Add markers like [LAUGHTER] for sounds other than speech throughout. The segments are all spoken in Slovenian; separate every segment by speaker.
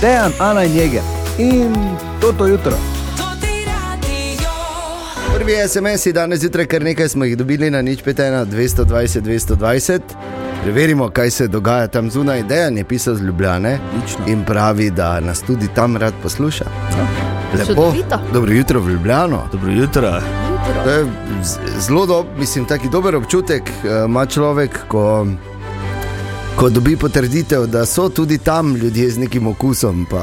Speaker 1: Dejan, Ana in Jeger in toto jutro.
Speaker 2: Prvi SMS-ji danes zjutraj, kar nekaj smo jih dobili na nič 5, 220, 220. Preverimo, kaj se dogaja tam zunaj. Dejan je pisal z Ljubljane
Speaker 1: Odlično.
Speaker 2: in pravi, da nas tudi tam rad posluša.
Speaker 1: Ja,
Speaker 2: Lepo,
Speaker 3: Čudovito.
Speaker 2: dobro jutro v Ljubljano.
Speaker 1: Dobro jutro.
Speaker 2: To je z- zelo dob, mislim, taki dober občutek eh, ima človek, ko, ko dobi potrditev, da so tudi tam ljudje z nekim okusom, pa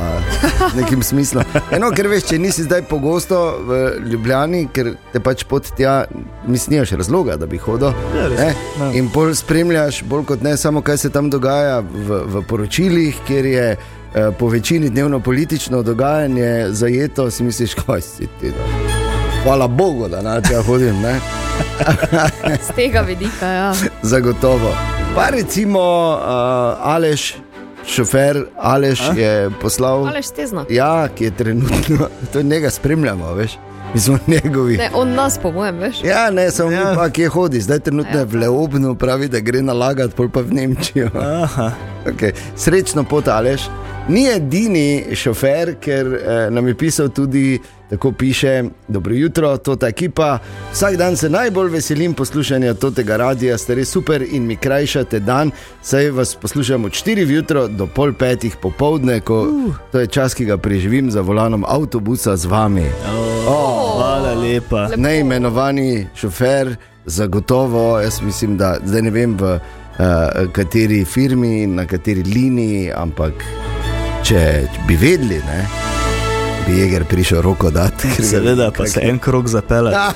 Speaker 2: z nekim smislom. Eno, ker veš, če nisi zdaj pogosto v Ljubljani, ker te pač pot tja, mislim, nimaš razloga, da bi hodil. Ne? In bolj spremljaš, bolj kot ne samo, kaj se tam dogaja v, v poročilih, kjer je. eh, Po večini dnevno politično dogajanje zajeto, si misliš, kaj si ti. No? Hvala Bogu, da na tja hodim, ne?
Speaker 3: Z tega vidika, ja.
Speaker 2: zagotovo. Pa recimo uh, Aleš, šofer Aleš A? je poslal.
Speaker 3: Aleš Stezna.
Speaker 2: Ja, ki je trenutno, [LAUGHS] to njega spremljamo, veš, mi smo njegovi.
Speaker 3: Ne, on nas, po mojem, veš.
Speaker 2: Ja, ne, samo ja. pa kje hodi, zdaj trenutno je v Leobnu, pravi, da gre nalagati, pol pa v Nemčijo. Okay. Srečno potaleš. Ni edini šofer, ker eh, nam je pisal tudi, tako piše, dobro jutro, to ta ekipa. Vsak dan se najbolj veselim poslušanja tega radia, ste res super in mi krajšate dan. Saj vas poslušam od 4 jutra do pol petih popovdne, ko uh. to je čas, ki ga preživim za volanom avtobusa z vami.
Speaker 4: Hvala lepa.
Speaker 3: Lepo.
Speaker 2: Neimenovani šofer, zagotovo, jaz mislim, da zdaj ne vem v uh, kateri firmi, na kateri liniji, ampak če bi vedeli, ne, bi jeger prišel roko dati. ker ga-
Speaker 4: Seveda pa se en krok zapele.
Speaker 2: Ja,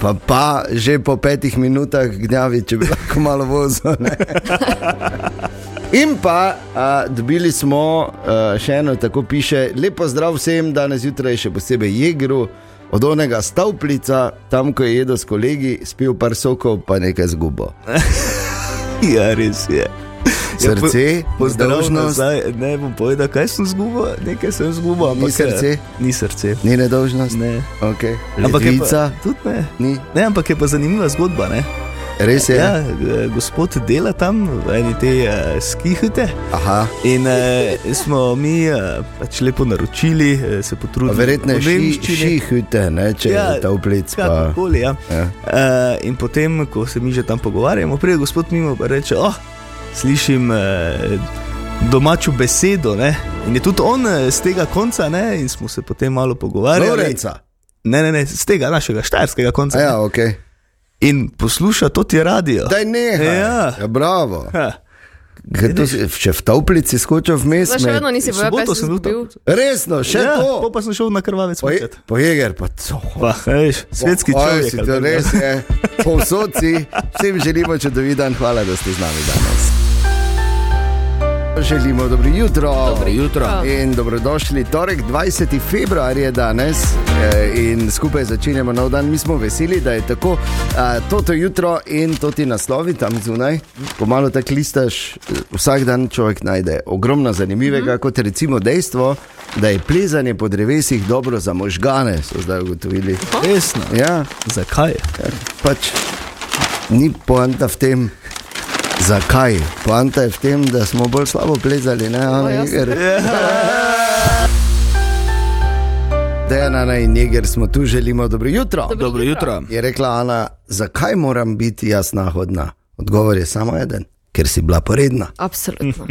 Speaker 2: Pa, pa že po petih minutah gnjavi, če bi lahko malo vozil. ne. In pa a, dobili smo a, še eno, tako piše, lepo zdrav vsem, danes zjutraj še posebej jegru, od onega stavplica, tam ko je jedel s kolegi, spil par sokov, pa nekaj zgubo.
Speaker 4: Ja, res je. Ja,
Speaker 2: Srce,
Speaker 4: Pozdravljeno,
Speaker 2: pozdravnost,
Speaker 4: zdaj ne bom povedal, kaj sem zgubil, nekaj sem zgubil,
Speaker 2: Ni
Speaker 4: ampak ja,
Speaker 2: srce?
Speaker 4: Ni srce.
Speaker 2: ni nedožnost,
Speaker 4: Ne.
Speaker 2: okay.
Speaker 4: Ampak je pa,
Speaker 2: levica,
Speaker 4: tudi ne.
Speaker 2: ni,
Speaker 4: Ne, ampak je pa zanimiva zgodba. Ne?
Speaker 2: res je.
Speaker 4: Ja, eh, gospod dela tam, v eni te uh, skihute.
Speaker 2: Aha,
Speaker 4: In eh, smo mi eh, pač lepo naročili, eh, se
Speaker 2: pa
Speaker 4: potrudili.
Speaker 2: verjetno
Speaker 4: v
Speaker 2: je
Speaker 4: nemščini.
Speaker 2: šihute, če
Speaker 4: Ja,
Speaker 2: je stavplic. Pa...
Speaker 4: Kakorkoli, ja.
Speaker 2: Ja.
Speaker 4: Eh, in potem, ko se mi že tam pogovarjamo, pride gospod mimo in reče: Oh, slišim eh, domačo besedo. Ne? In je tudi on eh, z tega konca, ne? in smo se potem malo pogovarjali.
Speaker 2: Lorenca.
Speaker 4: Ne, ne, ne, z tega našega štajerskega konca.
Speaker 2: A Ja, okay.
Speaker 4: In posluša to ti radio.
Speaker 2: Daj ne,
Speaker 4: Ja.
Speaker 2: ja, bravo.
Speaker 4: Ha,
Speaker 2: Kaj to si- Če v Tavplici skočil vmes,
Speaker 3: Zdaj še vedno nisi
Speaker 4: v
Speaker 3: povedal, kaj
Speaker 4: soboto
Speaker 3: si
Speaker 4: sem bil tam.
Speaker 3: zgubil.
Speaker 2: Resno, še
Speaker 4: ja,
Speaker 2: to.
Speaker 4: pol pa sem šel na krvave
Speaker 2: Poje,
Speaker 4: cvete.
Speaker 2: pojeger, pa to.
Speaker 4: Pa, veš, svetski človek.
Speaker 2: si
Speaker 4: ali
Speaker 2: to
Speaker 4: kako.
Speaker 2: res je. Povsod si, vsem želimo čudovit dan, hvala, da ste z nami danes. Želimo dobro jutro. Dobro
Speaker 3: jutro.
Speaker 2: In dobrodošli. Torek 20. februar je danes eh, in skupaj začenjamo nov dan. Mi smo veseli, da je tako. Eh, Toto jutro in to ti naslovi tam zunaj. Pomalo tako listaš, eh, vsak dan človek najde ogromno
Speaker 4: Mhm.
Speaker 2: zanimivega, mm -hmm. kot recimo dejstvo, da je plezanje po drevesih dobro za možgane, so zdaj ugotovili.
Speaker 4: Resno.
Speaker 2: Ja,
Speaker 4: Zakaj?
Speaker 2: pač ni poanta v tem. Zakaj? Poanta je v tem, da smo bolj slabo plezali, ne Ana
Speaker 3: Ja,
Speaker 2: Jeger. Dejan, Ana in Jeger smo tu, želimo dobro jutro.
Speaker 3: Dobro Dobro jutro.
Speaker 2: Je rekla Ana, zakaj moram biti jaz nahodna? Odgovor je samo eden, ker si bila poredna.
Speaker 3: Absolutno.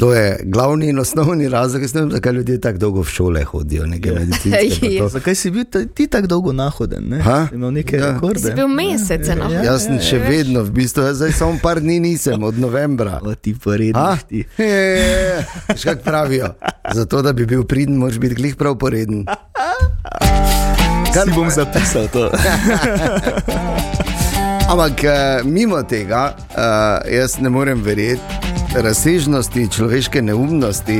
Speaker 2: To je glavni in osnovni razlog, jaz ne vem, zakaj ljudje tako dolgo v šole hodijo, nekaj medicinskega. pa
Speaker 4: [LAUGHS]
Speaker 2: to.
Speaker 4: Zakaj si bil ta- ti tako dolgo nahoden? Ne?
Speaker 2: Ha?
Speaker 4: Si Imel neke
Speaker 2: Ja.
Speaker 4: rekorde.
Speaker 3: Si bil mesec, eno.
Speaker 2: Jaz sem še vedno, v bistvu, jaz zdaj samo par dni nisem, od novembra.
Speaker 4: O, ti poredni
Speaker 2: A?
Speaker 4: ti.
Speaker 2: Je, je, je. Veš, kako pravijo? Zato, da bi bil pridn, moraš biti glih prav poreden.
Speaker 4: Kar bom zapisal [LAUGHS] to.
Speaker 2: Ampak eh, mimo tega, eh, jaz ne morem verjeti razsežnosti človeške neumnosti.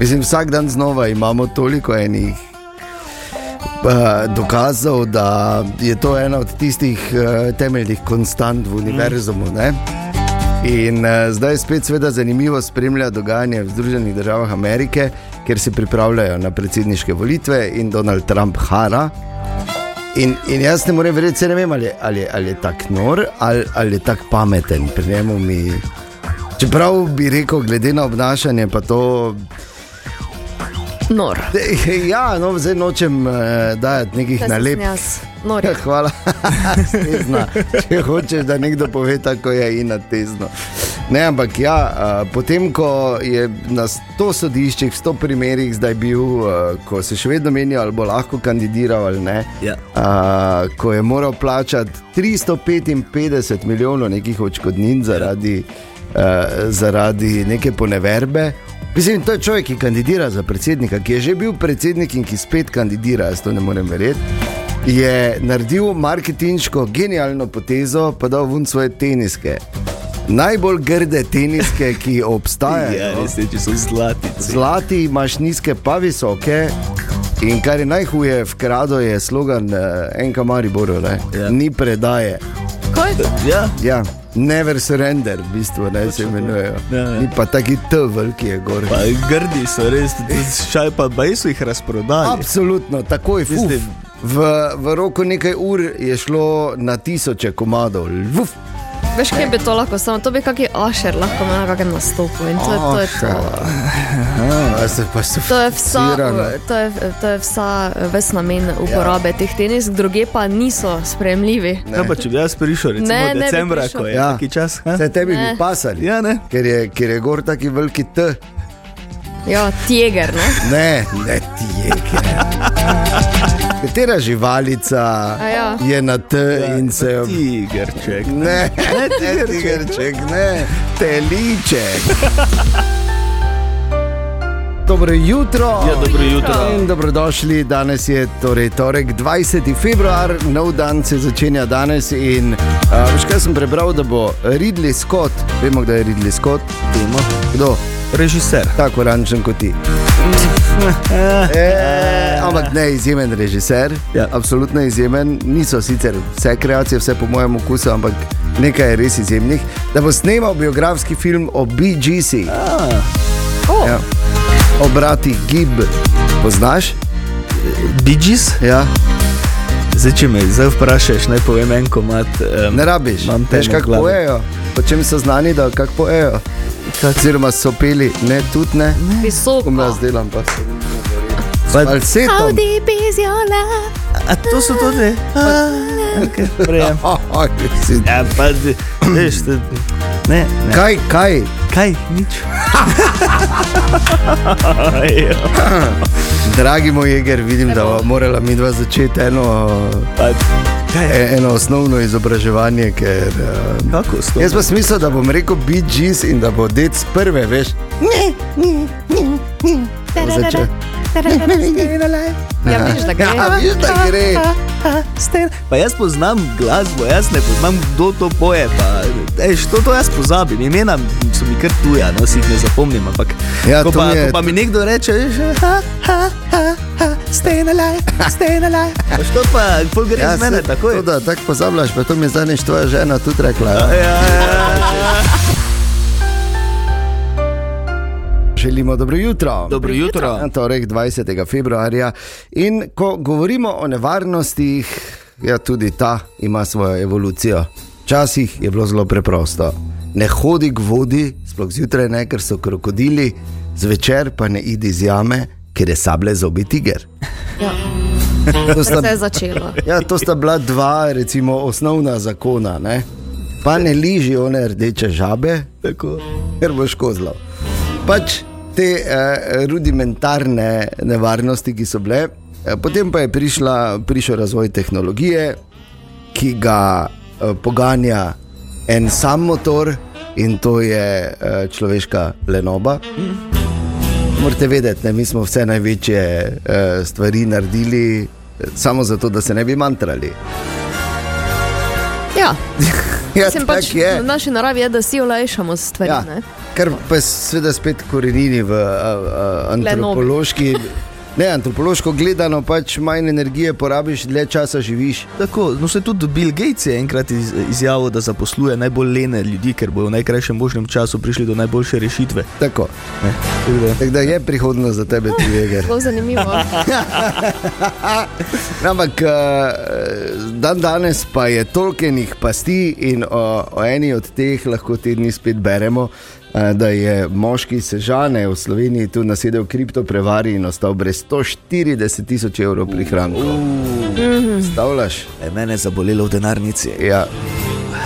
Speaker 2: Mislim, vsak dan znova imamo toliko enih. eh, Dokazov, da je to ena od tistih eh, temeljnih konstant v univerzumu. Ne? In uh, zdaj je spet, seveda, zanimivo spremljati dogajanje v Združenih državah Amerike, kjer se pripravljajo na predsedniške volitve in Donald Trump hara. In, in jaz ne morem verjeti, saj ne vem, ali, je- ali, je- ali je tako nor ali, ali je tako pameten. Pri njemu mi. Čeprav bi rekel, glede na obnašanje, pa to
Speaker 3: Nor.
Speaker 2: De- [LAUGHS] Ja, no, zdaj nočem uh, dajati nekih nalep.
Speaker 3: Nor.
Speaker 2: Ja, [LAUGHS] hvala, stezna. Če hočeš, da nekdo pove, tako je in na tezno. Ne, ampak ja, uh, potem, ko je na 100 sodiščih, 100 primerih zdaj bil, uh, ko se še vedno menijo, ali bo lahko kandidiral ali ne,
Speaker 4: Ja.
Speaker 2: uh, ko je moral plačati 355 milijonov nekih očkodnin zaradi, uh, zaradi neke poneverbe. Mislim, to je človek, ki kandidira za predsednika, ki je že bil predsednik in ki spet kandidira, jaz to ne morem verjeti. Je naredil marketinško genialno potezo, pa dal ven svoje teniske. Najbolj grde teniske, ki obstajajo.
Speaker 4: Ja, res je, če so zlati.
Speaker 2: Zlati imaš nizke, pa visoke. In kar je najhuje, vkrado je slogan eh, enka Maribor,
Speaker 4: Ja.
Speaker 2: yeah. ni predaje.
Speaker 3: Kaj?
Speaker 4: Ja,
Speaker 2: Ja, never surrender, v bistvu ne se imenujejo.
Speaker 4: Ja, ja.
Speaker 2: Ni pa taki tevel, ki je gor.
Speaker 4: pa grdi so res, tudi šaj pa baj so jih razprodali.
Speaker 2: Absolutno, takoj fuf.
Speaker 4: Mislim-
Speaker 2: V, v roku nekaj ur je šlo na tisoče komadov. Vuf.
Speaker 3: Veš, kaj bi to lahko samo, to bi kaki ašer lahko imel na kakem nastopu in to je to. Je to.
Speaker 2: Aha, se pa so
Speaker 3: To je, vsa,
Speaker 2: fiksirano.
Speaker 3: to, je, to je vsa, ves namen uporabe ja. teh tenisk, druge pa niso sprejemljivi.
Speaker 4: Ja, pa če bi jaz prišel, recimo
Speaker 3: Ne, ne bi
Speaker 4: decembra,
Speaker 3: prišel.
Speaker 4: ko je
Speaker 2: Ja.
Speaker 4: ja. taki čas. ha?
Speaker 2: Se tebi bi
Speaker 3: Eh? Ne.
Speaker 2: pasali,
Speaker 4: Ja, ne.
Speaker 2: ker, je, ker je gor taki veliki T.
Speaker 3: Ja, tiger, ne?
Speaker 2: Ne, ne ti je. Katera živalica
Speaker 3: A ja.
Speaker 2: je na T in se jo.
Speaker 4: Ja, Tigerček.
Speaker 2: Ne, ne, tigrček, ne, teliček. Dobro jutro.
Speaker 4: Ja, dobro jutro.
Speaker 2: In dobrodošli, danes je torej torek 20. februar, nov dan se začenja danes. In uh, veš, kaj sem prebral, da bo Ridley Scott, vemo, kdo je Ridley Scott, vemo, kdo
Speaker 4: Režiser.
Speaker 2: tako oranžen kot ti. E, ampak ne izjemen režiser, ja.
Speaker 4: Ja.
Speaker 2: absolutno izjemen. Niso sicer vse kreacije, vse po mojem okusu, ampak nekaj je res izjemnih. Da bo snemal biografski film o BGC,
Speaker 3: Oh,
Speaker 2: ja.
Speaker 3: ja.
Speaker 2: o bratih Gib. Poznaš?
Speaker 4: Bidžis?
Speaker 2: Ja.
Speaker 4: Zdaj, če me zdaj vprašaš, naj povem en komat. Um,
Speaker 2: Ne rabiš,
Speaker 4: Imam
Speaker 2: veš
Speaker 4: temo v
Speaker 2: kako
Speaker 4: glavi.
Speaker 2: pojejo. Po čem so znani, da kako pojejo. Oziroma so peli, ne tudi ne.
Speaker 3: visoko.
Speaker 2: Kom jaz delam pa se.
Speaker 4: pa,
Speaker 3: How
Speaker 2: Falsetom.
Speaker 3: deep is your love?
Speaker 4: a to so tudi. Okay, prejem.
Speaker 2: Aha, si-
Speaker 4: ja, pa, d- veš, to- ne, ne.
Speaker 2: Kaj, kaj?
Speaker 4: Kaj, nič. [LAUGHS] Ja,
Speaker 2: Dragi moj jeger, vidim, da bo morala mi dva začeti eno,
Speaker 4: pa, kaj,
Speaker 2: e- eno osnovno izobraževanje. Ker, uh,
Speaker 4: kako sto?
Speaker 2: jaz pa smisel, da bom rekel BGs in da bo dec prve, veš. Bo začel.
Speaker 3: Ja, veš, da gre.
Speaker 2: Ja, viš, da gre.
Speaker 4: Pa jaz poznam glasbo, jaz ne poznam, kdo to poje. Pa, eš, to, to jaz pozabim, imena so mi kar tuja, no si jih ne zapomnim. Ampak,
Speaker 2: Ja,
Speaker 4: ko,
Speaker 2: to
Speaker 4: pa,
Speaker 2: mi je-
Speaker 4: ko pa mi nekdo reče, veš, ha, ha, ha, ha, stay alive, stay
Speaker 2: [LAUGHS]
Speaker 4: alive. Veš, to pa, pol gre
Speaker 2: Ja,
Speaker 4: iz mene
Speaker 2: se-
Speaker 4: takoj.
Speaker 2: to, da Tako pozabljaš, pa to mi je zadnjič tvoja žena tudi rekla. Ja.
Speaker 4: Ja, ja, ja.
Speaker 2: Želimo dobro jutro.
Speaker 4: Dobro jutro.
Speaker 2: Na Torek 20. februarja. In ko govorimo o nevarnostih, ja, tudi ta ima svojo evolucijo. Včasih je bilo zelo preprosto. Ne hodi k vodi, sploh zjutraj ne, ker so krokodili, zvečer pa ne idi z jame, ker je sable zobi tiger.
Speaker 3: Ja,
Speaker 2: To
Speaker 3: [LAUGHS]
Speaker 2: sta,
Speaker 3: vse je začelo.
Speaker 2: ja, to sta bila dva, recimo, osnovna zakona. Ne? Pa ne liži one rdeče žabe,
Speaker 4: Tako.
Speaker 2: ker boš kozlal. Pač te eh, rudimentarne nevarnosti, ki so bile, eh, potem pa je prišla, prišel razvoj tehnologije, ki ga eh, poganja en sam motor in to je eh, človeška lenoba. Morate vedeti, ne, mi smo vse največje eh, stvari naredili eh, samo zato, da se ne bi mantrali. [LAUGHS]
Speaker 3: Ja,
Speaker 2: Ja,
Speaker 3: mislim
Speaker 2: tako
Speaker 3: pač, v naši naravi je, da si olajšamo stvari.
Speaker 2: Ja,
Speaker 3: Ja.
Speaker 2: kar pa je seveda spet korenini v a, a, antropološki. Ne, antropološko gledano, pač manj energije porabiš, dlje časa živiš.
Speaker 4: Tako, no se tudi Bill Gates je enkrat iz, izjavil, da zaposluje najbolj lene ljudi, ker bodo v najkrajšem možnem času prišli do najboljše rešitve.
Speaker 2: Tako.
Speaker 4: Ne, tako da-
Speaker 2: Tako da je prihodnost za tebe, ti
Speaker 3: [LAUGHS]
Speaker 2: veger.
Speaker 3: Zelo zanimivo.
Speaker 2: Ampak eh, dan danes pa je toliko enih pasti in o, o eni od teh lahko te dni spet beremo. eh, da je moški sežane v Sloveniji tu nasedel kriptoprevari in ostal brez 140 tisoč evrov prihrankov. Stavljaš?
Speaker 4: E, mene je zabolelo v denarnici.
Speaker 2: Ja.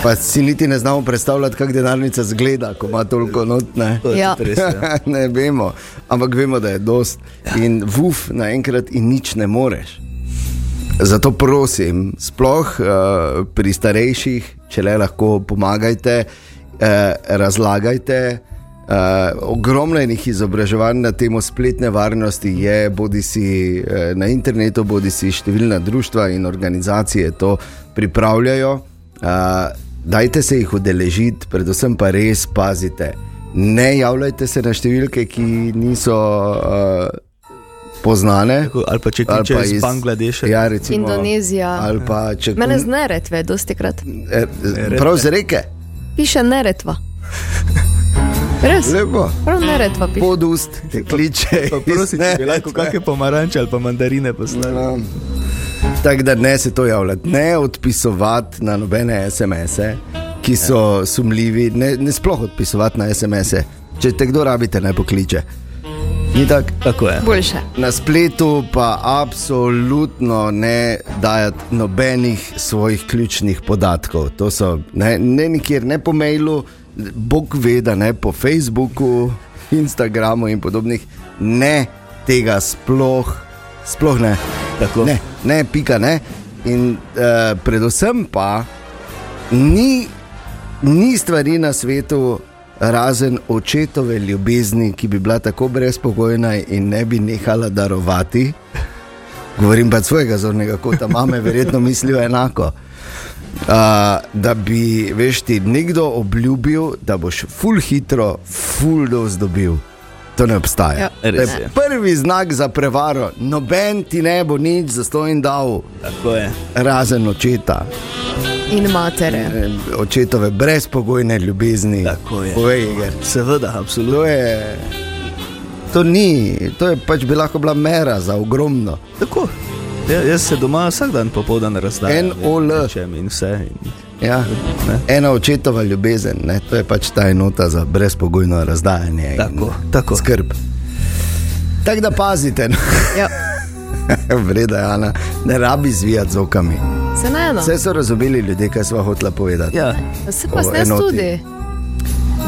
Speaker 2: Pa si niti ne znamo predstavljati, kako denarnica zgleda, ko ima toliko notne.
Speaker 4: To je
Speaker 3: Ja.
Speaker 4: tudi res, ja.
Speaker 2: [LAUGHS] ne vemo, ampak vemo, da je dost. In vuf naenkrat in nič ne moreš. Zato prosim, sploh uh, pri starejših, če le lahko pomagajte, uh, razlagajte. Uh, ogromno je enih izobraževanj na temo spletne varnosti, je bodi si uh, na internetu, bodi si številna društva in organizacije to pripravljajo. Uh, dajte se jih udeležiti, predvsem pa res pazite. Ne javljajte se na številke, ki niso uh, poznane.
Speaker 4: Tako, ali pa če
Speaker 2: Ali
Speaker 4: kličeš
Speaker 2: pa
Speaker 4: iz Bangladeša.
Speaker 2: Ja, recimo,
Speaker 3: Indonezija.
Speaker 2: Ali pa če
Speaker 3: Mene z neretve, dosti krat.
Speaker 2: Eh, Prav z reke,
Speaker 3: Piše neretva. Res,
Speaker 2: lepo.
Speaker 3: prav neretva piše.
Speaker 2: Pod ust te kliče.
Speaker 4: [LAUGHS] Pa prosi, če bi
Speaker 2: iz
Speaker 4: lahko kakšne pomaranče ali pa mandarine poslali.
Speaker 2: Ja. Tako da ne se to javljati, ne odpisovati na nobene SMS-e, ki so sumljivi, ne, ne sploh odpisovati na SMS-e. Če te kdo rabite, ne pokliče. Ni tako.
Speaker 4: Tako je.
Speaker 3: Boljše.
Speaker 2: Na spletu pa absolutno ne dajati nobenih svojih ključnih podatkov. To so ne, ne nikjer, ne po mailu, Bog ve, da ne po Facebooku, Instagramu in podobnih. Ne tega sploh, sploh ne.
Speaker 4: Tako.
Speaker 2: Ne, ne, pika ne. In uh, predvsem pa ni, ni stvari na svetu, razen očetove ljubezni, ki bi bila tako brezpogojna in ne bi nehala darovati. Govorim pa od svojega zornega kota, mame verjetno mislijo enako. Uh, da bi, veš, ti nekdo obljubil, da boš full hitro, full dos dobil. To ne obstaja.
Speaker 3: Ja,
Speaker 2: to
Speaker 4: res
Speaker 2: je
Speaker 4: je.
Speaker 2: prvi znak za prevaro. Noben ti ne bo nič za to in dal,
Speaker 4: Tako je.
Speaker 2: razen očeta
Speaker 3: In matere.
Speaker 2: Eh, očetove brezpogojne ljubezni.
Speaker 4: Tako je.
Speaker 2: Povej, Igor.
Speaker 4: Seveda, absolutno.
Speaker 2: to je. To ni, to je pač bi lahko bila mera za ogromno.
Speaker 4: Tako. Ja, jaz se doma vsak dan popoldan razdajam.
Speaker 2: NOL.
Speaker 4: ja, rečem In vse. In,
Speaker 2: Ja.
Speaker 4: ne.
Speaker 2: Ena očetova ljubezen, ne? to je pač ta enota za brezpogojno razdajanje. in
Speaker 4: Tako, tako.
Speaker 2: Skrb. Tako da pazite, no.
Speaker 3: Ja.
Speaker 2: [LAUGHS] vreda je Ana, ne rabi zvijati z okami.
Speaker 3: Se ne eno.
Speaker 2: Vse so razumeli ljudje, kaj smo hotla povedati.
Speaker 4: Ja,
Speaker 3: Se pa
Speaker 2: o
Speaker 3: zdaj
Speaker 2: enoti.
Speaker 3: tudi.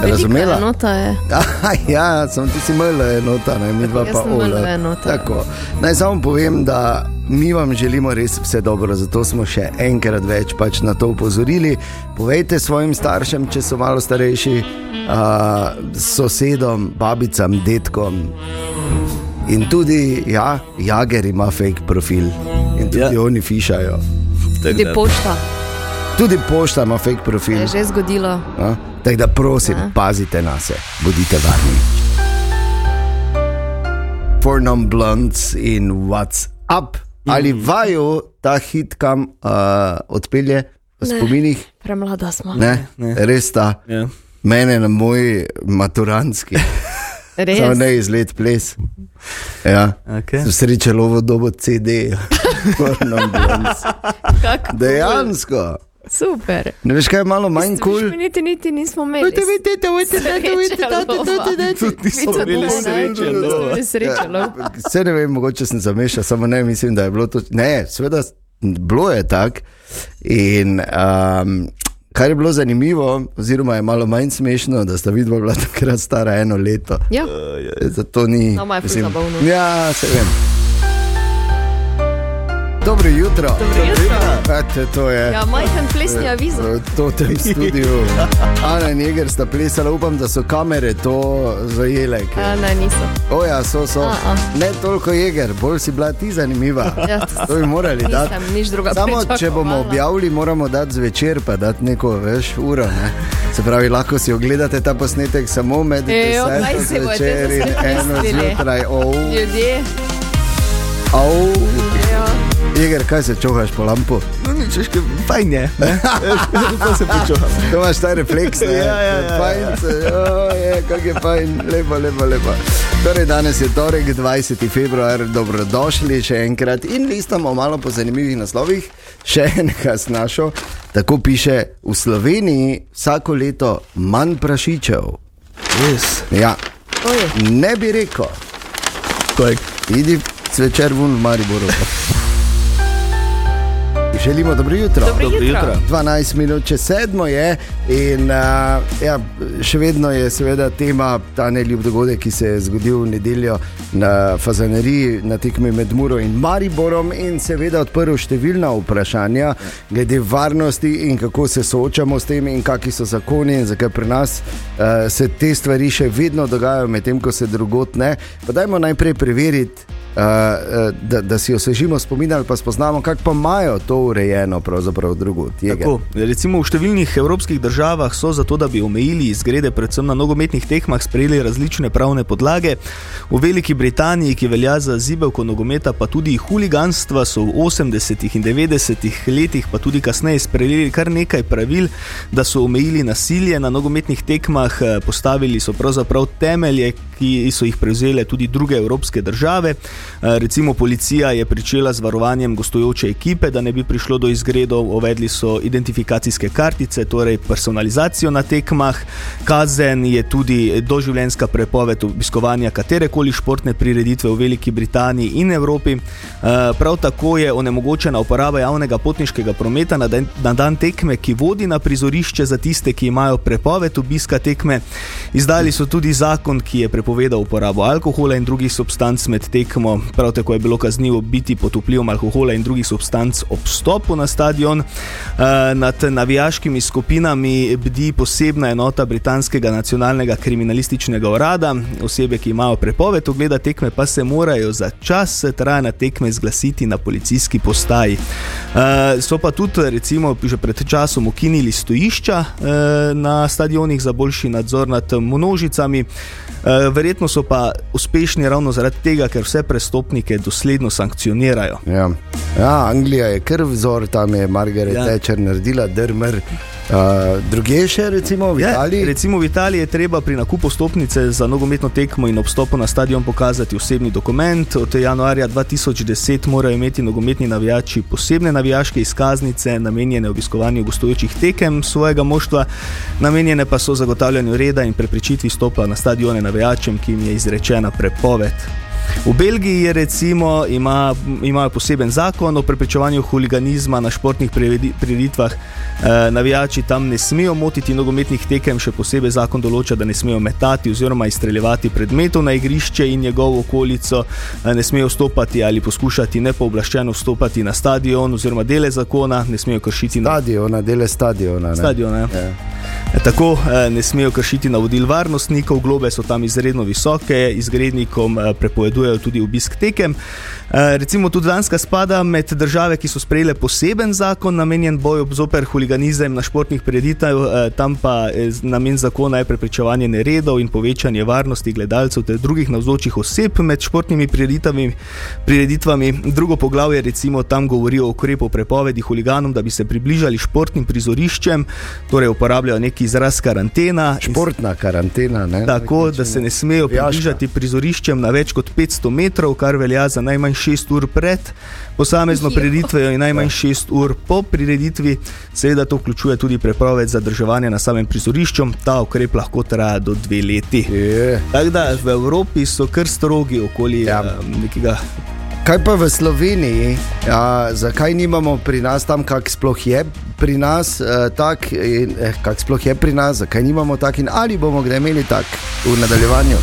Speaker 2: Razumela?
Speaker 3: Nota je.
Speaker 2: [LAUGHS] Aha, ja, sem ti si mrla enota, ne mi dva
Speaker 3: Jaz
Speaker 2: pa
Speaker 3: sem ML
Speaker 2: ola.
Speaker 3: enota.
Speaker 2: Tako. Naj samo povem, da mi vam želimo res vse dobro, zato smo še enkrat več pač na to upozorili. Povejte svojim staršem, če so malo starejši, uh, sosedom, babicam, detkom. In tudi, ja, Jager ima fake profil in tudi
Speaker 4: Ja.
Speaker 2: ja. oni fišajo.
Speaker 4: tako
Speaker 3: Tudi
Speaker 4: da-
Speaker 3: pošta.
Speaker 2: Tudi pošta ima fake
Speaker 3: Se
Speaker 2: profil.
Speaker 3: je že zgodilo.
Speaker 2: no. Tako da prosim, pazite na se, bodite varni. For non-blunts in what's up, ali vaju ta hit kam uh, odpelje, v spominih,
Speaker 3: Premlada smo.
Speaker 2: ne, ne. res ta.
Speaker 4: Ja.
Speaker 2: Mene na moj maturantski, samo
Speaker 3: Res.
Speaker 2: ne izlet ples. Ja.
Speaker 4: Okay.
Speaker 2: Srečalo ovo dobo CD, [LAUGHS] For non-blunts.
Speaker 3: Kako
Speaker 2: dejansko.
Speaker 3: Super.
Speaker 2: Ne veš, kaj je malo manj kul?
Speaker 3: Cool.
Speaker 2: Cool?
Speaker 3: Niti, niti nismo imeli.
Speaker 4: Tudi nismo
Speaker 3: Sreča
Speaker 4: imeli
Speaker 3: lova.
Speaker 4: sreče. no.
Speaker 3: Srečalo.
Speaker 2: Vse ne vem, mogoče sem zamešal, samo ne mislim, da je bilo to. Ne, seveda, bilo je tako. In um, kar je bilo zanimivo, oziroma je malo manj smešno, da sta vidva bila takrat stara eno leto.
Speaker 3: Ja.
Speaker 2: Zato ni.
Speaker 3: No, ma je ful zabavno.
Speaker 2: Ja, se vem. Dobro jutro.
Speaker 3: Dobro jutro.
Speaker 2: Ate, to je.
Speaker 3: Ja, majhen plesni avizo.
Speaker 2: V tem studiu. Ana in Jeger sta plesala, upam, da so kamere to zajele. ker-
Speaker 3: A, ne, niso.
Speaker 2: Oja, so, so.
Speaker 3: A, a.
Speaker 2: Ne toliko jeger, bolj si bila ti zanimiva. [LAUGHS]
Speaker 3: Ja,
Speaker 2: To bi morali dati.
Speaker 3: nisem nič druga
Speaker 2: Samo če bomo
Speaker 3: pričakovala.
Speaker 2: objavili, moramo dati zvečer, pa dati neko več uro. Ne? Se pravi, lahko si ogledate ta posnetek samo med
Speaker 3: Ejo, kaj si
Speaker 2: 10
Speaker 3: boste
Speaker 2: zvečer in
Speaker 3: si
Speaker 2: eno
Speaker 3: mislili?
Speaker 2: zjutraj. Oh,
Speaker 3: Ljudje.
Speaker 2: oh.
Speaker 3: Ja.
Speaker 2: Jeger, kaj se čohaš po lampu?
Speaker 4: No, nič, veš, kaj, fajn je. ne. [LAUGHS] To se počuvam.
Speaker 2: To imaš ta refleks, ne?
Speaker 4: [LAUGHS] Ja, ja, ja,
Speaker 2: fajn,
Speaker 4: ja.
Speaker 2: se, o, je, kako je fajn, lepo, lepo, lepo. Torej, danes je torek, 20. februar, dobrodošli še enkrat in listamo malo po zanimivih naslovih, še enega snašo. Tako piše, v Sloveniji vsako leto manj prašičev.
Speaker 4: Res.
Speaker 2: Ja,
Speaker 3: Oj,
Speaker 2: ne bi rekel.
Speaker 4: Kaj?
Speaker 2: Idi zvečer ven v
Speaker 3: [LAUGHS]
Speaker 2: Mariboru. Želimo dobro jutro.
Speaker 3: Dobro
Speaker 4: Dobro
Speaker 3: jutro.
Speaker 4: jutro.
Speaker 2: 12 minut čez sedmo je in uh, ja, še vedno je seveda tema ta neljub dogodek, ki se je zgodil v nedeljo na Fazaneriji na tekmi med Muro in Mariborom in seveda odprl številna vprašanja glede varnosti in kako se soočamo s tem in kakšni so zakoni in zakaj pri nas uh, se te stvari še vedno dogajajo, medtem ko se drugot ne. Pa dajmo najprej preveriti. Uh, uh, da, da si osvežimo spomin ali pa spoznamo, kako pa imajo to urejeno, pravzaprav drugo.
Speaker 4: Tako, recimo v številnih evropskih državah so zato, da bi omejili izgrede, predvsem na nogometnih tekmah, sprejeli različne pravne podlage. V Veliki Britaniji, ki velja za zibelko nogometa, pa tudi huliganstva, so v 80-ih in 90-ih letih, pa tudi kasneje, sprejeli kar nekaj pravil, da so omejili nasilje na nogometnih tekmah, eh, postavili so pravzaprav temelje, ki so jih prevzele tudi druge evropske države. Eh, Recimo policija je pričela z varovanjem gostujoče ekipe, da ne bi prišlo do izgredov, uvedli so identifikacijske kartice, torej personalizacijo na tekmah, kazen je tudi doživljenska prepoved obiskovanja katerekoli športne prireditve v Veliki Britaniji in Evropi. Eh, Prav tako je onemogočena uporaba javnega potniškega prometa na dan, na dan tekme, ki vodi na prizorišče za tiste, ki imajo prepoved obiska tekme. Izdali so tudi zakon, ki je prepovedal uporabo alkohola in drugih substanc med tekmo. Prav tako je bilo kaznivo biti pod vplivom alkohola in drugih substanc ob stopu na stadion. E, Nad navijaškimi skupinami bdi posebna enota britanskega nacionalnega kriminalističnega urada. Osebe, ki imajo prepoved ogleda tekme, pa se morajo za čas trajanja tekme zglasiti na policijski postaji. E, So pa tudi, recimo, že pred časom ukinili stojišča e, na stadionih za boljši nadzor nad množicami. E, Verjetno so pa uspešni ravno zaradi tega, ker vse prestopnike dosledno sankcionirajo.
Speaker 2: Ja. Ja, Anglija je kar vzor, tam je Margaret ja.
Speaker 4: Ja.
Speaker 2: Thatcher naredila drmr. Uh, druge še, recimo v
Speaker 4: Ja,
Speaker 2: Italiji.
Speaker 4: recimo v Italiji je treba pri nakupu stopnice za nogometno tekmo in obstopu na stadion pokazati osebni dokument. Od januarja 2010 morajo imeti nogometni navijači posebne navijaške izkaznice, namenjene obiskovanju gostujočih tekem svojega moštva, namenjene pa so zagotavljanju reda in preprečitvi stopa na stadione navijačem, ki jim je izrečena prepoved. V Belgiji je recimo, ima, imajo poseben zakon o preprečevanju huliganizma na športnih priredi- prireditvah. E, navijači tam ne smejo motiti nogometnih tekem, še posebej zakon določa, da ne smejo metati oziroma izstreljevati predmetov na igrišče in njegovo okolico, e, ne smejo vstopati ali poskušati nepooblaščeno vstopati na stadion oziroma dele zakona, ne smejo kršiti na
Speaker 2: Stadiona, dele stadiona. ne.
Speaker 4: stadiona. Ja. E, Tako e, ne smejo kršiti navodil varnostnikov, globe so tam izredno visoke, izgrednikom e, prepovedujejo tudi obisk tekem. E, Recimo tudi Danska spada med države, ki so sprejele poseben zakon namenjen boju zoper huliganizem na športnih preditev, tam pa e, z- namen zakona je preprečevanje neredov in povečanje varnosti gledalcev ter drugih navzočih oseb med športnimi prireditvami. prireditvami. Drugo poglavje recimo tam govori o ukrepu prepovedi huliganom, da bi se približali športnim prizoriščem, torej uporabljajo neki izraz karantena. in
Speaker 2: Športna karantena. Ne?
Speaker 4: Tako da se ne smejo
Speaker 2: Navijaška.
Speaker 4: približati prizoriščem na več kot 500 metrov, kar velja za najmanj 6 ur pred posamezno prireditvijo in
Speaker 2: Ja.
Speaker 4: najmanj 6 ur po prireditvi. Seveda to vključuje tudi prepoved zadrževanja na samem prizorišču, ta ukrep lahko traja do dve leti.
Speaker 2: Je.
Speaker 4: Tako da v Evropi so kar strogi okoli
Speaker 2: Ja.
Speaker 4: ja. nekega.
Speaker 2: Kaj pa v Sloveniji, a, zakaj nimamo pri nas tam, kak sploh je pri nas, eh, tak, in, eh, kak sploh je pri nas, zakaj nimamo tak in ali bomo kdaj imeli tak v nadaljevanju?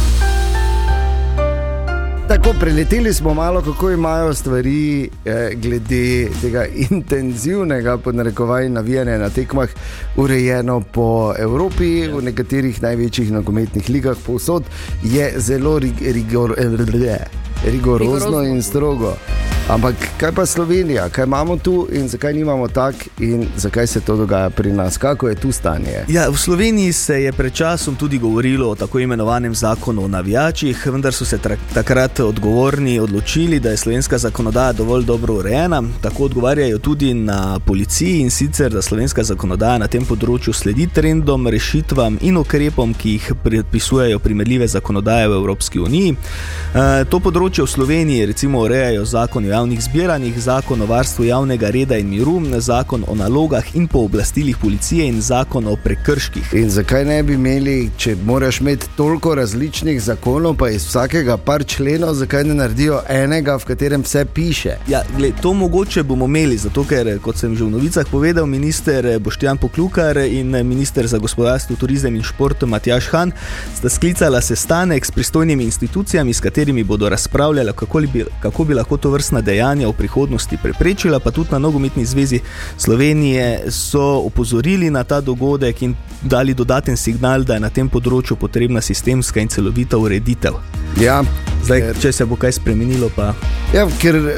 Speaker 2: Tako preleteli smo malo, kako imajo stvari eh, glede tega intenzivnega podnarekovanja navijanja na tekmah urejeno po Evropi, v nekaterih največjih nogometnih ligah, povsod je zelo rig, rigor, eh, rigorozno, rigorozno
Speaker 3: Rigorozno.
Speaker 2: in strogo. Ampak kaj pa Slovenija, kaj imamo tu in zakaj nimamo tak in zakaj se to dogaja pri nas, kako je tu stanje?
Speaker 4: Ja, v Sloveniji se je pred časom tudi govorilo o tako imenovanem zakonu o navijačih, vendar so se tra- takrat odgovorni odločili, da je slovenska zakonodaja dovolj dobro urejena. Tako odgovarjajo tudi na policiji in sicer, da slovenska zakonodaja na tem področju sledi trendom, rešitvam in ukrepom, ki jih predpisujejo Eh, primerljive zakonodaje v Evropski uniji. E, to področje v Sloveniji recimo urejajo zakon o javnih zbiranjih, zakon o varstvu javnega reda in miru, zakon o nalogah in pooblastilih policije in zakon o prekrških.
Speaker 2: In zakaj ne bi imeli, če moraš imeti toliko različnih zakonov, pa iz vsakega par členov, zakaj ne naredijo enega, v katerem vse piše?
Speaker 4: Ja, gled, to mogoče bomo imeli, zato ker, eh, kot sem že v novicah povedal, minister eh, Boštjan Poklukar in eh, minister za gospodarstvo, turizem in šport Matjaš Han sta sklicala sestanek s pristojnimi institucijami, s katerimi bodo razpravljali, kako, li bi, kako bi lahko to vrstna dejanja v prihodnosti preprečila, pa tudi na Nogometni zvezi Slovenije so opozorili na ta dogodek in dali dodaten signal, da je na tem področju potrebna sistemska in celovita ureditev.
Speaker 2: Ja,
Speaker 4: Zdaj,
Speaker 2: ker-
Speaker 4: če se bo kaj spremenilo, pa
Speaker 2: Ja, ker uh,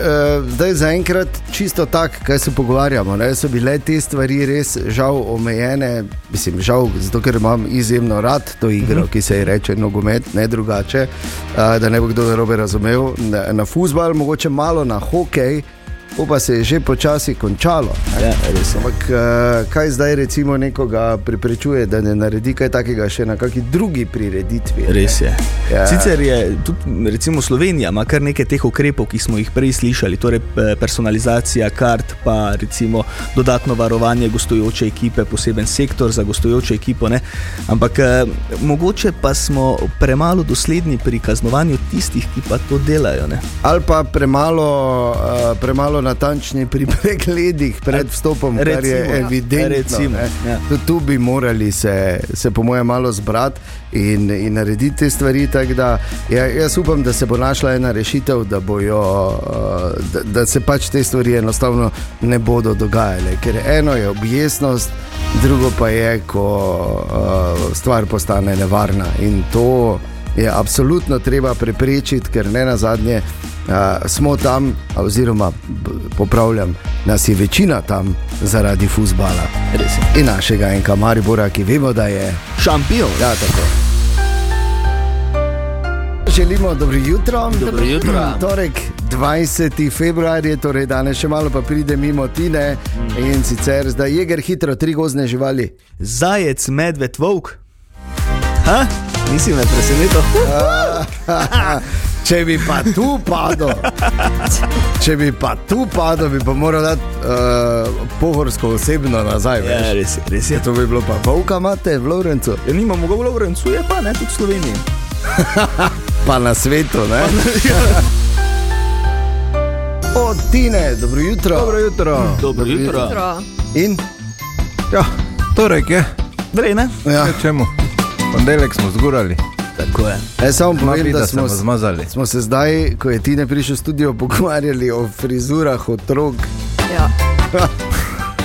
Speaker 2: zdaj zaenkrat čisto tako, kaj se pogovarjamo. Ne, so bile te stvari res žal omejene, mislim, žal, zato ker imam izjemno rad to igro, uh -huh. ki se ji reče nogomet, ne drugače. Uh, da ne bo kdo narobe razumel, na, na fusbal, mogoče malo na hokej, pol pa se je že počasi končalo. ne.
Speaker 4: ja, res.
Speaker 2: Ampak eh, kaj zdaj recimo nekoga preprečuje, da ne naredi kaj takega še na kakšni drugi prireditvi? ne?
Speaker 4: Res je.
Speaker 2: Ja.
Speaker 4: Ja. Sicer je tudi recimo Slovenija, ima kar nekaj teh ukrepov, ki smo jih prej slišali, torej eh, personalizacija kart, pa recimo dodatno varovanje gostujoče ekipe, poseben sektor za gostujočo ekipo. Ne? Ampak eh, mogoče pa smo premalo dosledni pri kaznovanju tistih, ki pa to delajo. Ne?
Speaker 2: ali pa premalo, uh, premalo natančni pri [LAUGHS] pregledih pred vstopom, kar je
Speaker 4: Recimo. ja.
Speaker 2: evidentno.
Speaker 4: Recimo,
Speaker 2: ne.
Speaker 4: ja.
Speaker 2: Tudi Tu bi morali se, se po mojem, malo zbrati in, in narediti te stvari. tako Da, ja, jaz upam, da se bo našla ena rešitev, da, bojo, uh, da, da se pač te stvari enostavno ne bodo dogajale. Ker eno je objestnost, drugo pa je, ko uh, stvar postane nevarna. In to je absolutno treba preprečiti, ker ne na zadnje. Uh, smo tam, oziroma b- popravljam, nas je večina tam zaradi fusbala
Speaker 4: Res je.
Speaker 2: in našega enka Maribora, ki vemo, da je.
Speaker 4: Šampion.
Speaker 2: Ja, tako. Želimo dobro jutro. Dobro jutro. Torek 20. februar je, torej danes še malo pa pride mimo Tine in sicer zdaj jeger hitro, tri gozne živali.
Speaker 4: Zajec, medved, volk. Ha? Nisi me presenetil?
Speaker 2: [LAUGHS] Če bi pa tu padel, če bi pa tu padel, bi pa moral dati uh, pohorsko osebno nazaj.
Speaker 4: Ja,
Speaker 2: veš.
Speaker 4: res je, res je.
Speaker 2: To bi bilo pa volka, imate v Lovrencu,
Speaker 4: Ja, nimamo ga v Lovrencu, je pa ne tudi v Sloveniji.
Speaker 2: pa na svetu. Ne? [LAUGHS] Od Tine, dobro jutro.
Speaker 1: Dobro jutro.
Speaker 4: Dobro jutro.
Speaker 3: Hitro.
Speaker 2: In
Speaker 1: Ja, torek je,
Speaker 4: Drej, ne?
Speaker 2: ja,
Speaker 1: kaj čemu. Ponedeljek smo zgurali,
Speaker 4: Tako je.
Speaker 2: jaz samo
Speaker 1: Mami,
Speaker 2: povem, da
Speaker 1: da smo
Speaker 2: smo, s-
Speaker 1: zmazali.
Speaker 2: smo se zdaj, ko je Tine prišel v studio, pogovarjali o frizurah otrok.
Speaker 3: Ja.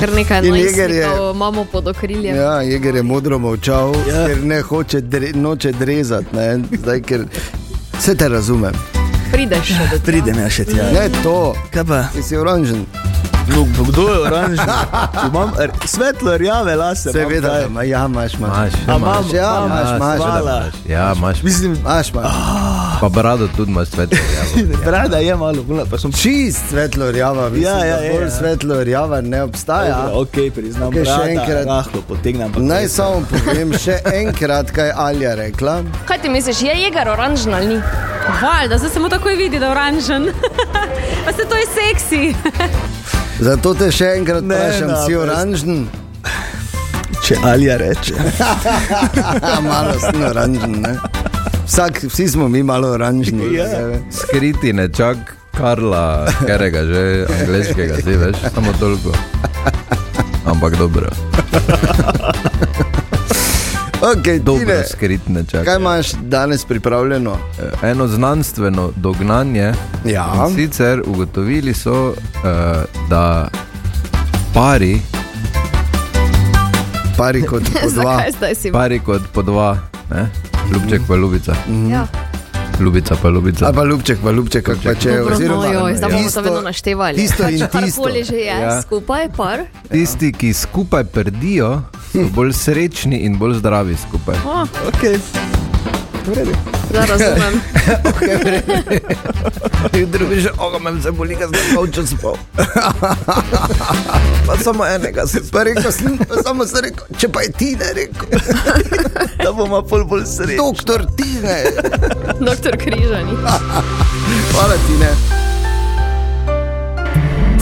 Speaker 3: Kar nekaj
Speaker 2: In Jeger je-
Speaker 3: najstnikov imamo pod okriljem. Ja.
Speaker 2: Ja, Jeger je modro molčal, ja.
Speaker 4: Ja.
Speaker 2: ker ne hoče dre, noče drezati. Ne? Zdaj, ker vse te razumem.
Speaker 3: Prideš še do tega.
Speaker 4: Pridem jaz še tja.
Speaker 2: Ne to,
Speaker 4: Kaj pa?
Speaker 2: ti si oranžen.
Speaker 4: No, kdo je oranžen? [LAUGHS] Imam r- svetlo rjave lase. imam
Speaker 2: Seveda,
Speaker 4: kaj.
Speaker 2: da ima, ja, imaš, imaš.
Speaker 1: Imaš,
Speaker 2: Ja,
Speaker 1: ja,
Speaker 2: imaš, ja, imaš,
Speaker 4: imaš. Imam, imam,
Speaker 2: imaš.
Speaker 4: hvala.
Speaker 1: Ja, imaš,
Speaker 4: Mislim,
Speaker 2: Imaš, imaš.
Speaker 1: pa brado tudi imaš svetlo.
Speaker 4: brada je malo, bila, pa sem
Speaker 2: Čist svetlo rjava, mislim,
Speaker 4: Ja, ja,
Speaker 2: da
Speaker 4: ja,
Speaker 2: bolj
Speaker 4: ja.
Speaker 2: svetlo rjava ne obstaja.
Speaker 4: Ja, ok, priznam.
Speaker 2: Okej, še
Speaker 4: brada,
Speaker 2: enkrat.
Speaker 4: Lahko potegnem. ampak
Speaker 2: Naj
Speaker 4: res ne.
Speaker 2: samo povem še enkrat, kaj je Alja rekla.
Speaker 5: Kaj ti misliš, je jeger oranžen ali ni?
Speaker 6: Valjda, zdaj se mu takoj vidi, da je oranžen. [LAUGHS] pa se to je seksi.
Speaker 2: Zato te še enkrat
Speaker 4: Ne,
Speaker 2: vprašam,
Speaker 4: da,
Speaker 2: si
Speaker 4: brez-
Speaker 2: oranžen? [LAUGHS]
Speaker 4: Če Alja
Speaker 7: [LAUGHS]
Speaker 4: reče.
Speaker 2: Ja, malo sem oranžen. Ne? Vsak, vsi smo mi malo oranžni.
Speaker 4: Ja.
Speaker 2: zdaj.
Speaker 1: Skriti nečak Karla, karega že angliškega, si veš, samo toliko. Ampak dobro,
Speaker 2: Okay,
Speaker 1: dobro
Speaker 2: Tine,
Speaker 1: skrit nečak.
Speaker 2: kaj imaš danes pripravljeno?
Speaker 1: Eno znanstveno dognanje.
Speaker 2: Ja.
Speaker 1: In Sicer ugotovili so, uh, da pari,
Speaker 2: Pari kot po dva.
Speaker 3: [LAUGHS] Zakaj zdaj si?
Speaker 1: pari kot po dva, ne? ljubček pa ljubica,
Speaker 3: Ja.
Speaker 1: ljubica pa ljubica.
Speaker 2: Ali pa ljubček, pa ljubček, kako pa če je.
Speaker 3: Dobro,
Speaker 2: oziroma-
Speaker 3: no, joj, zdaj bomo
Speaker 2: Tisto-
Speaker 3: to vedno naštevali.
Speaker 2: Tisto
Speaker 3: [LAUGHS]
Speaker 2: in tisto.
Speaker 3: Karkoli že je,
Speaker 1: Ja.
Speaker 3: ja. skupaj par.
Speaker 1: Tisti, ki skupaj prdijo, so bolj srečni in bolj zdravi skupaj.
Speaker 4: Ok,
Speaker 3: Da Ja,
Speaker 2: [LAUGHS]
Speaker 3: razumem.
Speaker 1: Jutro bi že ogomem se boli, ker sem dolgo
Speaker 2: [LAUGHS]
Speaker 1: spal. Pa samo enega se
Speaker 2: Pa rekel sem, pa samo sem rekel, če pa je Tine rekel, [LAUGHS]
Speaker 4: da bomo pol bolj srečni.
Speaker 2: doktor Tine. [LAUGHS]
Speaker 3: Doktor Križani.
Speaker 2: Hvala Tine.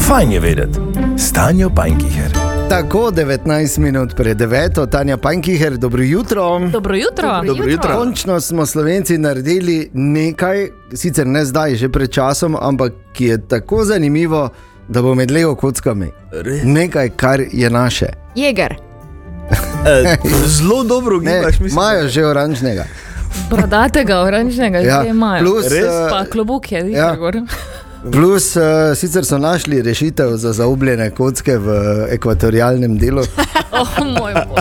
Speaker 8: Fajn je vedeti. Stanjo Pankiher.
Speaker 2: Tako 19 minut pred 9, Tanja Pankiher, dobro jutro.
Speaker 6: Dobro jutro.
Speaker 4: Dobro jutro.
Speaker 2: Končno smo Slovenci naredili nekaj, sicer ne zdaj, že pred časom, ampak ki je tako zanimivo, da bo med lego kockami. Nekaj, kar je naše.
Speaker 3: Jeger.
Speaker 4: Eh, Zelo dobro
Speaker 2: Ne,
Speaker 4: gibaš, mislim.
Speaker 2: Imajo že oranžnega.
Speaker 7: Prodatega, oranžnega,
Speaker 2: Ja,
Speaker 7: ja. že imajo.
Speaker 2: plus, Res? eh,
Speaker 7: pa klobuk je,
Speaker 2: ja.
Speaker 7: ja. [LAUGHS] gor.
Speaker 2: Plus, uh, sicer so našli rešitev za zaobljene kocke v eh, ekvatorialnem delu.
Speaker 3: Oh, moj bog.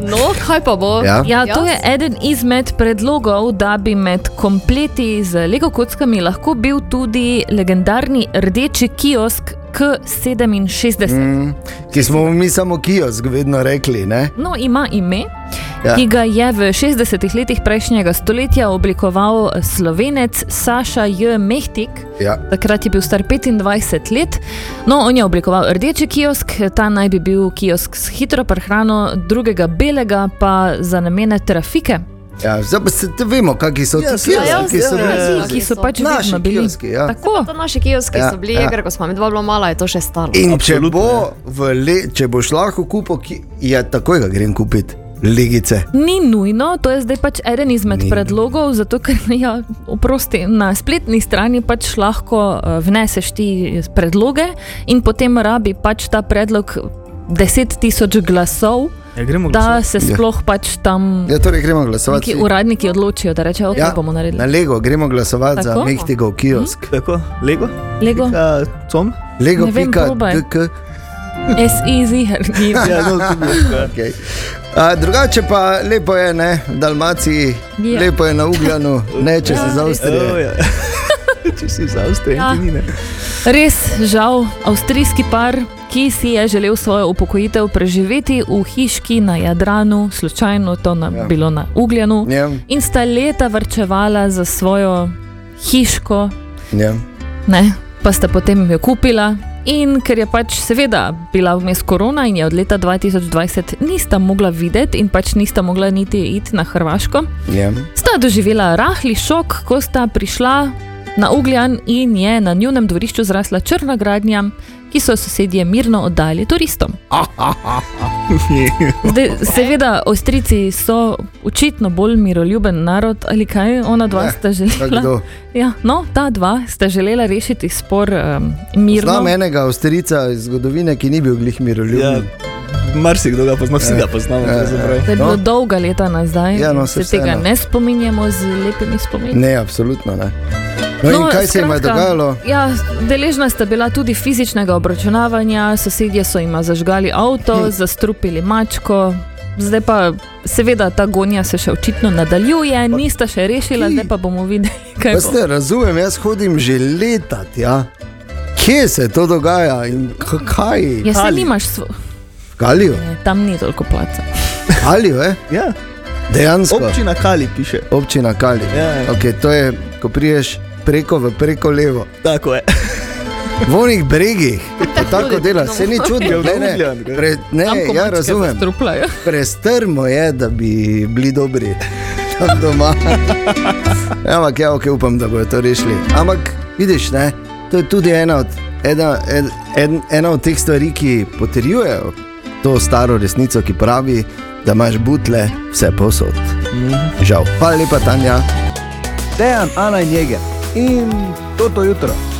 Speaker 3: No,
Speaker 7: Kaj pa bo?
Speaker 2: Ja.
Speaker 7: Ja, to je eden izmed predlogov, da bi med kompleti z Lego kockami lahko bil tudi legendarni rdeči kiosk K67. Mm.
Speaker 2: Ki smo mu mi samo kiosk vedno rekli. Ne?
Speaker 7: No, ima ime,
Speaker 2: Mm. Ja.
Speaker 7: ja. ki ga je v 60-ih letih prejšnjega stoletja oblikoval slovenec Saša J. Mehtik.
Speaker 2: Ja.
Speaker 7: Takrat je bil star 25 let. No, on je oblikoval rdeči kiosk, ta naj bi bil kiosk s hitro prehrano, drugega belega pa za namene trafike,
Speaker 2: Ja, zdaj pa se te vemo, kakšni so ti
Speaker 4: ja, ja,
Speaker 2: kioski. so
Speaker 4: ja,
Speaker 2: bili.
Speaker 4: ja, ja.
Speaker 7: ki so pač
Speaker 2: Naši
Speaker 7: vedno bili.
Speaker 2: kioski, ja.
Speaker 7: Tako.
Speaker 3: to naši kioski
Speaker 2: Ja,
Speaker 3: so bili
Speaker 2: ja.
Speaker 3: jeger, ko smo mi dva bila mala, je to še stalo.
Speaker 2: In če,
Speaker 4: Absolutno, ja.
Speaker 2: bo v le, če boš lahko kupil, ki, ja, takoj ga grem kupiti, legice.
Speaker 7: Ni nujno, to je zdaj pač eden izmed Ni. predlogov, zato ker [LAUGHS] ja, oprosti, na spletni strani pač lahko eh, vneseš ti predloge in potem rabi pač ta predlog 10 tisoč glasov,
Speaker 4: Ja, gremo
Speaker 7: da
Speaker 4: glasovati.
Speaker 7: se sploh pač tam
Speaker 2: Ja, torej gremo glasovati.
Speaker 7: neki uradniki odločijo, da rečejo, ok,
Speaker 2: Ja,
Speaker 7: ja. bomo
Speaker 2: na
Speaker 7: naredili. [LAUGHS]
Speaker 2: Lego gremo glasovati Tako? za
Speaker 7: Tako.
Speaker 2: Mehtigov kiosk.
Speaker 4: Tako, Lego?
Speaker 7: Lego,
Speaker 4: Ja, Tom?
Speaker 2: Lego,
Speaker 7: Ne vem,
Speaker 2: pika,
Speaker 7: probaj.
Speaker 2: dk.
Speaker 7: SE, ziger.
Speaker 4: Ja, no, to bi
Speaker 2: [LAUGHS]
Speaker 4: lahko.
Speaker 2: Okay. A, drugače pa lepo je ne, v Dalmaciji,
Speaker 7: Ja.
Speaker 2: lepo je na Ugljanu, ne če si iz
Speaker 4: Oh,
Speaker 2: Avstrije.
Speaker 4: ja. [LAUGHS] Če si iz Avstrije,
Speaker 7: Ja.
Speaker 4: ti ni ne.
Speaker 7: Res žal, avstrijski par, ki si je želel svojo upokojitev preživeti v hiški na Jadranu, slučajno to na,
Speaker 2: Ja.
Speaker 7: ja. bilo na Ugljanu,
Speaker 2: Ja,
Speaker 7: in sta leta vrčevala za svojo hiško,
Speaker 2: ja.
Speaker 7: ne? pa sta potem jo kupila. In ker je pač seveda bila vmes korona in je od leta 2020 nista mogla videti in pač nista mogla niti iti na Hrvaško,
Speaker 2: Ja.
Speaker 7: sta doživela rahli šok, ko sta prišla na Ugljan in je na njunem dvorišču zrasla črna gradnja, ki so jo sosedje mirno oddali
Speaker 2: [LAUGHS]
Speaker 7: turistom. Zdaj, seveda, Avstrijci so očitno bolj miroljuben narod ali kaj, ona dva
Speaker 2: Ne,
Speaker 7: sta
Speaker 2: Tako
Speaker 7: želela.
Speaker 2: kdo.
Speaker 7: Ja, no, ta dva sta želela rešiti spor um, mirno.
Speaker 2: Znam enega avstrijca iz zgodovine, ki ni bil glih
Speaker 4: Ja,
Speaker 2: miroljuben.
Speaker 4: marsikdo ga pozna, vsi ga poznamo.
Speaker 2: Ja, ja.
Speaker 4: pravzaprav.
Speaker 7: To je bilo
Speaker 2: No.
Speaker 7: no. dolga leta nazaj,
Speaker 2: Ja, no, saj
Speaker 7: se tega
Speaker 2: vseeno.
Speaker 7: ne spominjamo z lepimi spomini.
Speaker 2: Ne, absolutno ne. No, no in kaj se jim je
Speaker 7: skratka,
Speaker 2: dogajalo?
Speaker 7: Ja, deležna sta bila tudi fizičnega obračunavanja, sosedje so jima zažgali avto, hm. zastrupili mačko. Zdaj pa, seveda, ta gonja se še očitno nadaljuje, nista še rešila, zdaj pa bomo videli, kaj
Speaker 2: Jaz
Speaker 7: bo.
Speaker 2: ne razumem, jaz hodim že leta tja. Kje se to dogaja in k- kaj?
Speaker 7: Ja, se
Speaker 4: Ali.
Speaker 7: nimaš, svo...
Speaker 2: Kalijo,
Speaker 7: ne, tam ni toliko placa.
Speaker 2: kalijo, eh?
Speaker 4: Ja,
Speaker 2: dejansko.
Speaker 4: občina Kali piše.
Speaker 2: Občina Kali.
Speaker 4: Ja, ja.
Speaker 2: Okay, to je, ko priješ preko v preko levo.
Speaker 4: Tako je.
Speaker 2: V onih
Speaker 7: [LAUGHS]
Speaker 2: bregih, to tako dela, se ni
Speaker 4: Ja,
Speaker 2: čudno.
Speaker 4: v
Speaker 2: Ne, ne,
Speaker 4: Ljubljan, gre.
Speaker 2: pre,
Speaker 7: Tam,
Speaker 2: ne
Speaker 7: ko
Speaker 2: ja
Speaker 7: mačke
Speaker 2: razumem.
Speaker 7: Zastruplajo.
Speaker 2: Prestrmo je, da bi bili dobri tam doma. Ja, Ampak ja, ok, upam, da bodo to rešili. Ampak vidiš, ne, to je tudi ena od, ena, en, en, ena od teh stvari, ki potrjujejo to staro resnico, ki pravi, da imaš butle vse posod.
Speaker 9: Mhm.
Speaker 2: Žal. Hvala lepa, Tanja.
Speaker 9: Dejan, Ana in Jeger in toto jutro.